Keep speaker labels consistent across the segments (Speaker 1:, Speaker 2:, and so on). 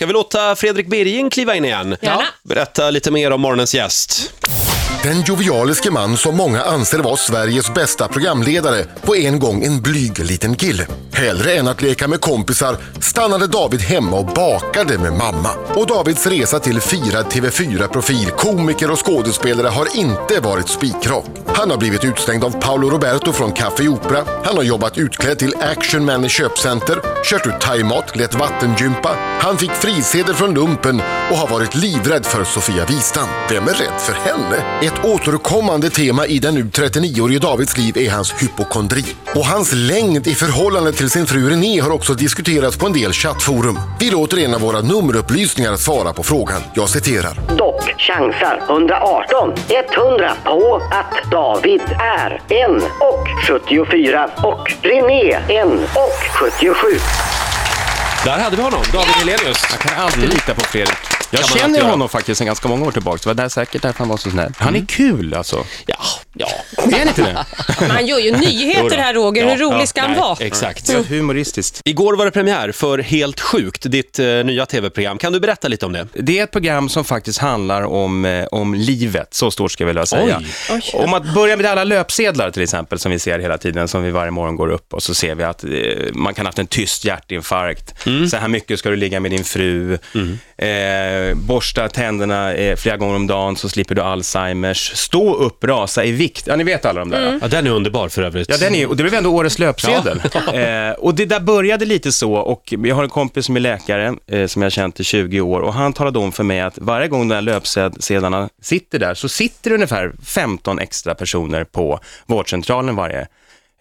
Speaker 1: Ska vi låta Fredrik Birgin kliva in igen?
Speaker 2: Gärna.
Speaker 1: Berätta lite mer om morgonens gäst.
Speaker 3: Den jovialiske man som många anser vara Sveriges bästa programledare, på en gång en blyg liten kille. Hellre än att leka med kompisar stannade David hemma och bakade med mamma. Och Davids resa till firad TV4-profil, komiker och skådespelare har inte varit spikrak. Han har blivit utslängd av Paolo Roberto från Café Opera. Han har jobbat utklädd till actionman i köpcenter, kört ut thaimat, lett vattengympa. Han fick frisedel från lumpen och har varit livrädd för Sofia Wistam. Vem är rädd för henne? Ett återkommande tema i den nu 39-årige Davids liv är hans hypokondri. Och hans längd i förhållande till sin fru René har också diskuterats på en del chattforum. Vi låter en av våra nummerupplysningar svara på frågan. Jag citerar.
Speaker 4: Dock chansar 118 100 på att David är en och 74 och René en och 77.
Speaker 1: Där hade vi honom, David Hellenius. Mm.
Speaker 5: Jag kan alltid lita på Fredrik. Mm.
Speaker 1: Kan
Speaker 5: Jag
Speaker 1: man
Speaker 5: känner
Speaker 1: alltid
Speaker 5: ju
Speaker 1: göra.
Speaker 5: honom faktiskt sedan ganska många år tillbaka. Det var där säkert därför han var så snäll. Han är kul alltså.
Speaker 1: Ja, ja.
Speaker 5: Är han inte det?
Speaker 2: Men han gör ju
Speaker 1: Jo då.
Speaker 2: nyheter här Roger, hur
Speaker 5: Ja,
Speaker 2: rolig ska han
Speaker 1: nej,
Speaker 2: vara?
Speaker 1: Exakt.
Speaker 5: Det är humoristiskt.
Speaker 1: Igår var det premiär för Helt sjukt, ditt eh, nya tv-program. Kan du berätta lite om det?
Speaker 5: Det är ett program som faktiskt handlar om, eh, om livet, så stort ska jag vilja säga. Om att börja med alla löpsedlar till exempel, som vi ser hela tiden, som vi varje morgon går upp och så ser vi att eh, man kan ha haft en tyst hjärtinfarkt. Så här mycket ska du ligga med din fru. Eh, borsta tänderna eh, flera gånger om dagen så slipper du Alzheimers. Stå upp, rasa i vikt. Ja, ni vet alla de där. ja.
Speaker 1: Ja, den är underbar för övrigt.
Speaker 5: Ja, den är, och det blev ändå årets löpsedel. Eh, och det där började lite så och jag har en kompis som är läkare eh, som jag har känt i 20 år och han talade om för mig att varje gång de här löpsedlarna sitter där så sitter det ungefär 15 extra personer på vårdcentralen varje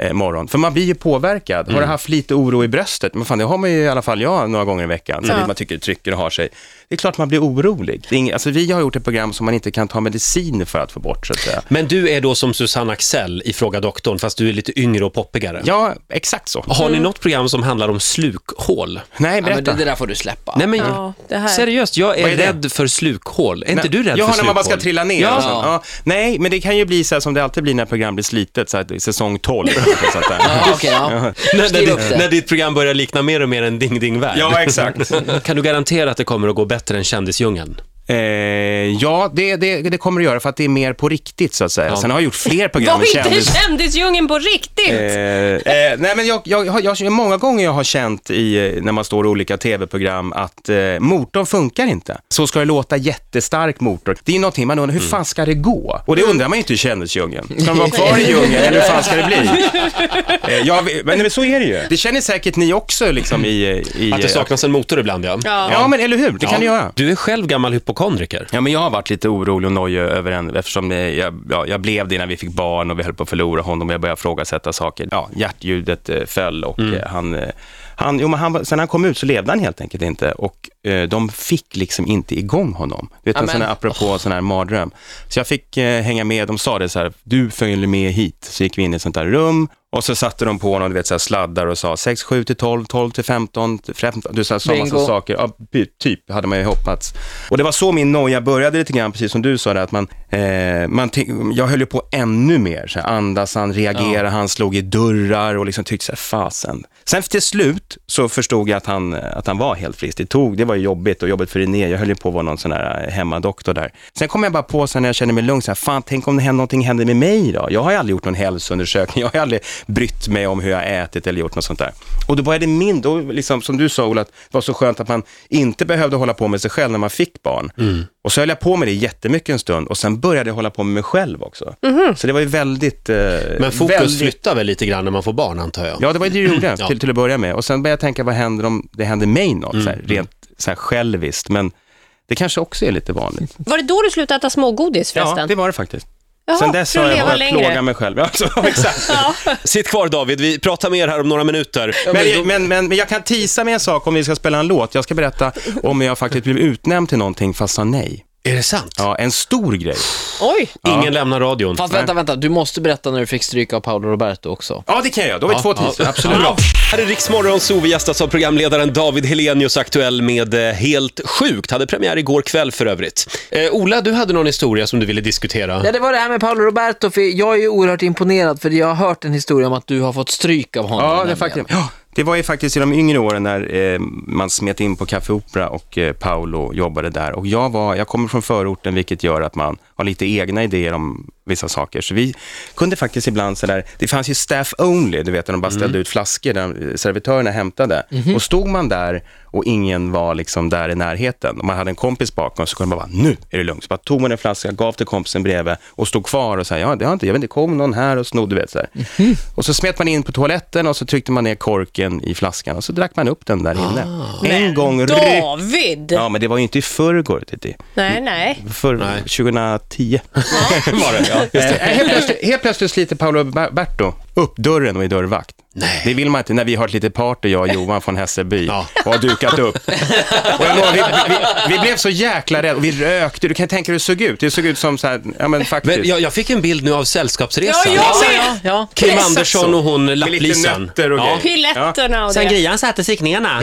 Speaker 5: eh, morgon. För man blir ju påverkad. Har du haft lite oro i bröstet? Men fan, det har man ju i alla fall jag några gånger i veckan. Så Man tycker det trycker och har sig. Det är klart man blir orolig. Det är ing- Alltså, vi har gjort ett program som man inte kan ta medicin för att få bort, så att säga.
Speaker 1: Men du är då som Susanne Axel i Fråga doktorn, fast du är lite yngre och poppigare.
Speaker 5: Ja, exakt så.
Speaker 1: Har ni något program som handlar om slukhål?
Speaker 5: Nej,
Speaker 6: Ja, men
Speaker 5: berätta.
Speaker 6: det, det där får du släppa.
Speaker 1: Nej, men
Speaker 2: Ja, det här.
Speaker 1: seriöst, jag är,
Speaker 5: Vad är det?
Speaker 1: rädd för slukhål. Är inte
Speaker 5: Nej.
Speaker 1: du rädd
Speaker 5: ja,
Speaker 1: för
Speaker 5: när
Speaker 1: slukhål?
Speaker 5: man bara ska trilla ner.
Speaker 1: Ja.
Speaker 5: och sånt. Ja. Nej, men det kan ju bli så här som det alltid blir när program blir slitet, så här, i säsong 12. så att, där.
Speaker 6: Ja, okej, ja.
Speaker 1: När, när,
Speaker 6: Skriv upp
Speaker 1: ditt, när
Speaker 6: det.
Speaker 1: ditt program börjar likna mer och mer en Ding Ding Värld.
Speaker 5: ja, exakt.
Speaker 1: Kan du garantera att det kommer att gå bättre än Kändisdjungeln?
Speaker 5: Eh, ja, det, det, det kommer det göra för att det är mer på riktigt, så att säga. Sen har jag gjort fler
Speaker 2: Var
Speaker 5: program med
Speaker 2: inte
Speaker 5: kändis...
Speaker 2: kändisdjungeln på riktigt?
Speaker 5: Eh, eh, nej, men jag, jag, har- jag, många gånger jag har känt i, eh, när man står i olika tv-program att eh, motorn funkar inte. Så ska det låta jättestark motor. Det är ju någonting man undrar, hur fan ska det gå? Och det undrar man ju inte i kändisdjungeln. Ska de vara kvar i djungeln eller hur fan ska det bli? Eh, jag vet- men, men så är det ju. Det känner säkert ni också liksom i... i
Speaker 1: Att det saknas en motor ibland, ja.
Speaker 2: Ja.
Speaker 5: Ja, men eller hur? Det kan det göra.
Speaker 1: Du är själv gammal hypokondriker.
Speaker 5: Ja, men jag har varit lite orolig och nojig över en, eftersom eh, jag, ja, jag blev det innan vi fick barn och vi höll på att förlora honom och jag började ifrågasätta saker. Ja, hjärtljudet eh, föll och eh, han, eh, han, jo, men han, var- sen han kom ut så levde han helt enkelt inte och eh, de fick liksom inte igång honom. Du vet, en
Speaker 6: Amen.
Speaker 5: sån här, apropå sån här mardröm. Så jag fick eh, hänga med, de sa det så här, du följer med hit. Så gick vi in i ett sånt där rum och så satte de på honom, du vet, så här sladdar och sa 6, 7 till 12, 12 till 15, till 15. Du sa sådana
Speaker 6: Bingo.
Speaker 5: saker saker. Ja, by- typ, hade man ju hoppats. Och det var så min noja började lite grann, precis som du sa, där, att man, eh, man ty- jag höll ju på ännu mer. Så här, andas han, reagerar han, slog i dörrar och liksom tyckte så här, fasen. Sen till slut så förstod jag att han, att han var helt frisk. Det tog, det var ju jobbigt och jobbigt för René. Jag höll ju på att vara någon sån här eh, hemmadoktor där. Sen kom jag bara på sen när jag kände mig lugn, så här, fan tänk om det händer, någonting händer med mig då? Jag har ju aldrig gjort någon hälsoundersökning, jag har ju aldrig brytt mig om hur jag har ätit eller gjort något sånt där. Och då började min, då liksom, som du sa Ola, att det var så skönt att man inte behövde hålla på med sig själv när man fick barn.
Speaker 1: Mm.
Speaker 5: Och så höll jag på med det jättemycket en stund och sen började jag hålla på med mig själv också. Så det var ju väldigt... Eh,
Speaker 1: Men fokus
Speaker 5: väldigt-
Speaker 1: flyttar väl lite grann när man får barn, antar jag?
Speaker 5: Ja, det var ju det jag gjorde
Speaker 1: Ja. Mm,
Speaker 5: till, till att börja med. Och sen började jag tänka, vad händer om det händer mig något, så här, rent så här själviskt. Men det kanske också är lite vanligt.
Speaker 2: Var det då du slutade äta smågodis förresten?
Speaker 5: Ja, det var det faktiskt.
Speaker 2: Jaha,
Speaker 5: Sen dess
Speaker 2: för
Speaker 5: har
Speaker 2: att
Speaker 5: jag
Speaker 2: leva
Speaker 5: börjat
Speaker 2: längre.
Speaker 5: plåga mig själv. Ja, så, exakt.
Speaker 1: Sitt kvar, David. Vi pratar mer här om några minuter.
Speaker 5: Men, men, men, men jag kan tisa med en sak om vi ska spela en låt. Jag ska berätta om jag faktiskt blev utnämnd till någonting fast sa nej.
Speaker 1: Är det sant?
Speaker 5: Ja, en stor grej.
Speaker 6: Oj!
Speaker 1: Ingen lämnar radion.
Speaker 6: Fast vänta, vänta. Du måste berätta när du fick stryk av Paolo Roberto också.
Speaker 5: Ja, det kan jag göra. Då har vi två
Speaker 1: Ja,
Speaker 5: teasers. Absolut.
Speaker 1: Bra. Här är Rix Morgon Zoo. Vi gästas av programledaren David Helenius, aktuell med eh, Helt sjukt. Hade premiär igår kväll för övrigt. Eh, Ola, du hade någon historia som du ville diskutera.
Speaker 6: Ja, det var det här med Paolo Roberto, för jag är ju oerhört imponerad för jag har hört en historia om att du har fått stryk av honom.
Speaker 5: Ja, det är
Speaker 6: nämligen.
Speaker 5: faktiskt. Ja, Det var ju faktiskt i de yngre åren när eh, man smet in på Café Opera och eh, Paolo jobbade där. Och jag, var, jag kommer från förorten, vilket gör att man har lite egna idéer om vissa saker. Så vi kunde faktiskt ibland sådär, det fanns ju staff only, du vet när de bara ställde ut flaskor där eh, servitörerna hämtade. Mm. Och stod man där och ingen var liksom där i närheten och man hade en kompis bakom så kunde man bara, nu är det lugnt. Så bara tog man en flaska, gav till kompisen bredvid och stod kvar och sa, ja, det har inte, jag vet inte, kom någon här och snodde, du vet så här. Och så smet man in på toaletten och så tryckte man ner korken i flaskan och så drack man upp den där inne. en gång ryck-
Speaker 2: David!
Speaker 5: Ja, men det var ju inte i förrgår, Titti.
Speaker 2: Nej, nej.
Speaker 5: För 2010 var det. Ja. Eh, helt, plötsligt, helt plötsligt sliter Paolo Ber- Berto upp dörren och är dörrvakt. Det vill man inte när vi har ett litet party, jag och Johan från Hässelby, och har dukat upp. Och jag lovar, vi, vi, vi blev så jäkla rädda och vi rökte. Du kan tänka dig hur det såg ut. Det såg ut som så här, ja men faktiskt.
Speaker 1: Men jag, jag fick en bild nu av Sällskapsresan.
Speaker 2: Ja, jag
Speaker 6: Ja,
Speaker 2: ser.
Speaker 6: ja, ja.
Speaker 1: Kim
Speaker 2: Precis
Speaker 1: Andersson och hon lapplisan.
Speaker 5: nötter och grejer.
Speaker 2: Piletterna och det.
Speaker 6: Sangrian satte siktningarna.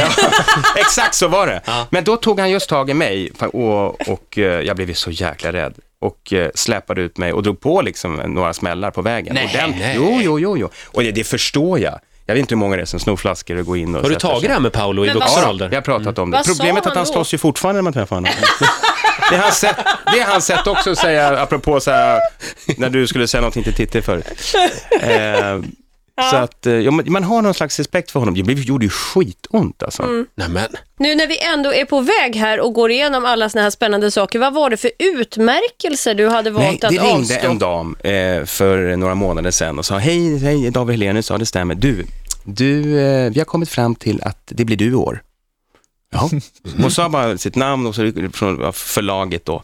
Speaker 5: Exakt så var det. Men då tog han just tag i mig fa- och, och eh, jag blev ju så jäkla rädd och eh, släpade ut mig och drog på liksom några smällar på vägen.
Speaker 6: Nej,
Speaker 5: och den,
Speaker 6: nej.
Speaker 5: Jo, jo, jo, jo. Och det, det förstår jag. Jag vet inte hur många det är som snor flaskor och går in och
Speaker 1: Har du
Speaker 5: sätter
Speaker 1: tagit
Speaker 5: sig.
Speaker 1: det här med Paolo i
Speaker 2: Men vad-
Speaker 1: vuxen
Speaker 5: Ja,
Speaker 1: ålder?
Speaker 5: jag har pratat om det.
Speaker 2: Vad sa
Speaker 5: Problemet är att
Speaker 2: han
Speaker 5: han
Speaker 2: då?
Speaker 5: slåss ju fortfarande när man träffar honom. Det är hans sätt, det är hans sätt också att säga, apropå så här, när du skulle säga någonting till Titti förut. Eh, Så att, eh, ja, man, man har någon slags respekt för honom. Det blev- gjorde ju skitont alltså.
Speaker 2: Mm.
Speaker 1: Nämen.
Speaker 2: Nu när vi ändå är på väg här och går igenom alla såna här spännande saker, vad var det för utmärkelser du hade valt
Speaker 5: Nej, det
Speaker 2: att
Speaker 5: ringde
Speaker 2: avstå?
Speaker 5: en dam eh, för några månader sedan och sa hej, hej David Helenius, ja det stämmer. Du, du eh, vi har kommit fram till att det blir du i år. Ja. Hon sa bara sitt namn och så från förlaget då.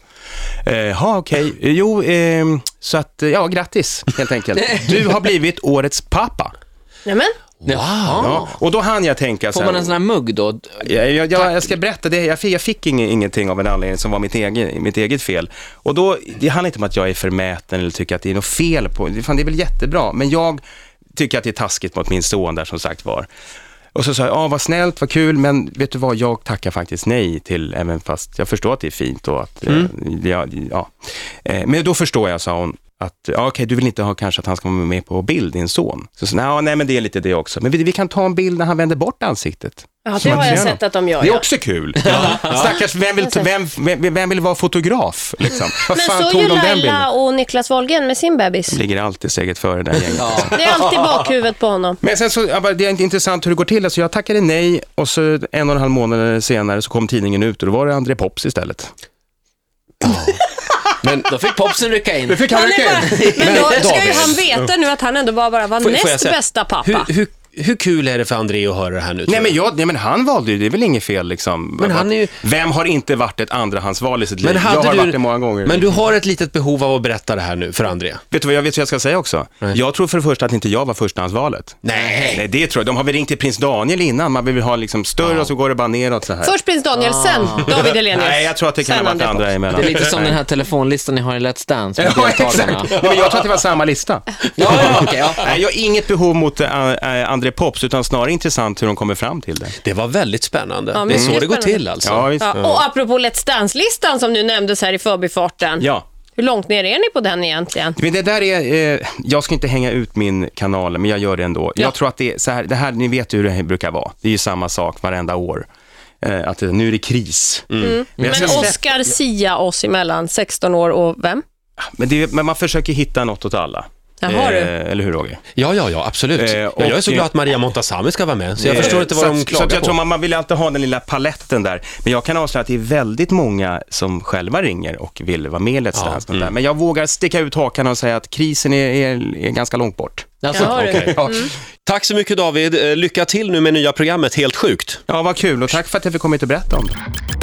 Speaker 5: Eh, Ja, okej. Eh, Jo, ehm, så att, eh, ja, grattis helt enkelt. Du har blivit årets pappa.
Speaker 2: Nämen,
Speaker 6: Wow.
Speaker 5: Ja. Och då hann jag tänka så
Speaker 6: Får
Speaker 5: här.
Speaker 6: man en sån här mugg då?
Speaker 5: Jag, jag, jag, jag ska berätta, det, jag, fick, jag fick inge- ingenting av en anledning som var mitt eget, mitt eget fel. Och då, det handlar inte om att jag är förmäten eller tycker att det är något fel på, det- fan, det är väl jättebra, men jag tycker att det är taskigt mot min son där som sagt var. Och så sa jag, ja vad snällt, vad kul, men vet du vad, jag tackar faktiskt nej till, även fast jag förstår att det är fint och att, eh, ja, ja. Eh, Men då förstår jag, sa hon, att ja, okej, du vill inte ha kanske att han ska vara med på bild, din son. Så, så "Nja, nej, men det är lite det också. Men vi, vi kan ta en bild när han vänder bort ansiktet.
Speaker 2: ja, det
Speaker 5: Som
Speaker 2: har jag
Speaker 5: gör
Speaker 2: sett
Speaker 5: något.
Speaker 2: att de gör.
Speaker 5: Det är
Speaker 2: Ja.
Speaker 5: också kul. Stackars, vem vill, vem, vem, vem vill vara fotograf? Liksom? Vad fan
Speaker 2: Men så
Speaker 5: tog
Speaker 2: gör
Speaker 5: de den bilden?
Speaker 2: Laila och Niklas Wahlgren med sin bebis.
Speaker 5: Ligger alltid steget före det här gänget.
Speaker 2: Det är alltid bakhuvudet på honom.
Speaker 5: Men sen så, ja, bara, det är inte intressant hur det går till. Alltså jag tackade nej och så en och en halv månad senare så kom tidningen ut och då var det André Pops istället.
Speaker 6: Men då fick popsen rycka in.
Speaker 5: fick han
Speaker 2: Men då ska ju
Speaker 1: David.
Speaker 2: han veta nu att han ändå bara, bara var
Speaker 1: Får- får jag
Speaker 2: näst
Speaker 1: säga,
Speaker 2: bästa pappa.
Speaker 1: Hur, hur, hur kul är det för André att höra det här nu? tror
Speaker 5: Nej men,
Speaker 1: jag?
Speaker 5: jag, nej men han valde ju, det är väl inget fel liksom.
Speaker 1: Men han är ju-
Speaker 5: Vem har inte varit ett andrahandsval i sitt liv?
Speaker 1: men, hade
Speaker 5: jag har
Speaker 1: du,
Speaker 5: varit det många gånger.
Speaker 1: men du har ett litet behov av att berätta det här nu för André.
Speaker 5: Vet du vad jag vet vad jag ska säga också? Jag tror för det första att inte jag var förstahandsvalet.
Speaker 1: Nej.
Speaker 5: Nej, det tror jag. De har väl ringt till prins Daniel innan. Man vill väl ha liksom större och så går det bara neråt så här.
Speaker 2: Först prins Daniel, sen David Helenius.
Speaker 5: Nej, jag tror att det kan
Speaker 2: Sen
Speaker 5: ha varit
Speaker 2: André
Speaker 5: andra
Speaker 2: Pops.
Speaker 5: emellan.
Speaker 6: Det är lite som den här telefonlistan ni har i Let's Dance med
Speaker 5: Ja,
Speaker 6: deltagarna.
Speaker 5: exakt. Nej, men jag tror att det var samma lista.
Speaker 6: Ja, okej, ja.
Speaker 5: Nej, jag har inget behov mot äh, äh, André Pops, utan snarare intressant hur de kommer fram till det.
Speaker 1: Det var väldigt spännande. det är
Speaker 2: mycket
Speaker 1: så det går
Speaker 2: spännande.
Speaker 1: till alltså.
Speaker 5: Ja, visst.
Speaker 2: Ja, och apropå Let's Dance-listan som nu nämndes här i förbifarten.
Speaker 5: Mm. Ja.
Speaker 2: Hur långt ner är ni på den egentligen?
Speaker 5: Men det där är, eh, jag ska inte hänga ut min kanal, men jag gör det ändå. Jag tror att det är så här, det här, ni vet hur det brukar vara. Det är ju samma sak varenda år. Eh, att det, nu är det kris.
Speaker 6: Mm.
Speaker 5: Men, jag
Speaker 2: Men
Speaker 5: ska släppa-
Speaker 2: Oscar Sia oss emellan, 16 år och vem?
Speaker 5: men, det, men man försöker hitta något åt alla. Eh,
Speaker 2: Jaha, du.
Speaker 5: eller hur Roger?
Speaker 1: Ja, ja, ja, absolut.
Speaker 5: Eh,
Speaker 1: ja, jag är så
Speaker 5: och-
Speaker 1: glad att Maria Montazami ska vara med, så jag
Speaker 5: Eh,
Speaker 1: förstår inte vad
Speaker 5: så
Speaker 1: de
Speaker 5: att, så
Speaker 1: klagar
Speaker 5: att jag
Speaker 1: på.
Speaker 5: tror man, man vill alltid ha den lilla paletten där. Men jag kan avslöja att det är väldigt många som själva ringer och vill vara med i Let's Dance. och sånt
Speaker 1: Mm.
Speaker 5: där. Men jag vågar sticka ut hakan och säga att krisen är, är, är ganska långt bort.
Speaker 6: Alltså,
Speaker 2: Jaha, du.
Speaker 6: okej.
Speaker 5: Ja.
Speaker 2: Mm.
Speaker 1: Tack så mycket David. Eh, Lycka till nu med nya programmet Helt sjukt.
Speaker 5: ja, vad kul och tack för att jag fick komma hit och berätta om det.